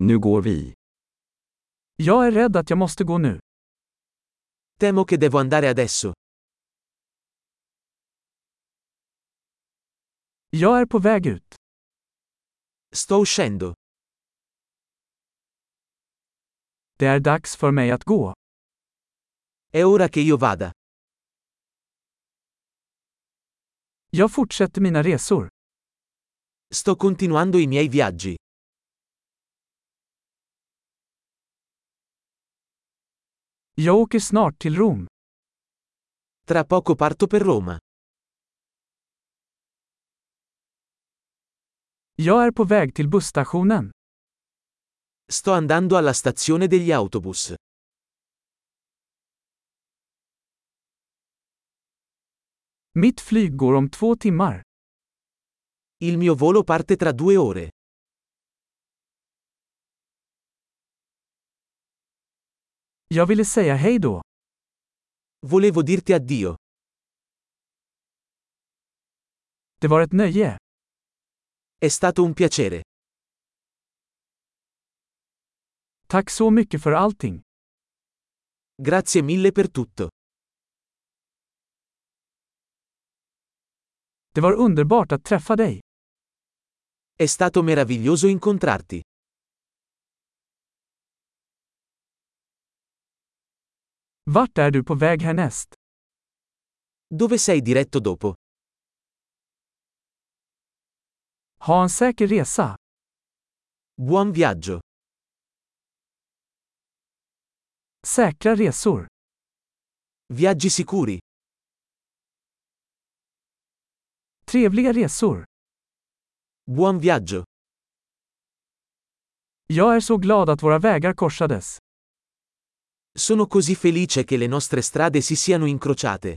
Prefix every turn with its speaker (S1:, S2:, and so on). S1: Nu går vi.
S2: Jag är rädd att jag måste gå nu.
S3: Temo che devo andare adesso.
S2: Jag är på väg ut.
S3: Sto uscendo.
S2: Det är dags för mig att gå.
S3: È ora che io vada.
S2: Jag fortsätter mina resor.
S3: Sto continuando i miei viaggi.
S2: Jag åker snart till Rom.
S3: Tra poco parto per Roma.
S2: Jag är på väg till busstationen.
S3: Sto andando alla stazione degli autobus.
S2: Mitt flyg går om två timmar.
S3: Il mio volo parte tra due ore.
S2: Jag ville säga hej då.
S3: Volevo dirti addio.
S2: Det var ett nöje.
S3: È stato un piacere.
S2: Tack så mycket för allting.
S3: Grazie mille per tutto.
S2: Det var underbart att träffa dig.
S3: È stato meraviglioso incontrarti.
S2: Vart är du på väg härnäst?
S3: Dove sei diretto dopo?
S2: Ha en säker resa.
S3: Buon viaggio.
S2: Säkra resor.
S3: Viaggi sicuri.
S2: Trevliga resor.
S3: Buon viaggio.
S2: Jag är så glad att våra vägar korsades.
S3: Sono così felice che le nostre strade si siano incrociate.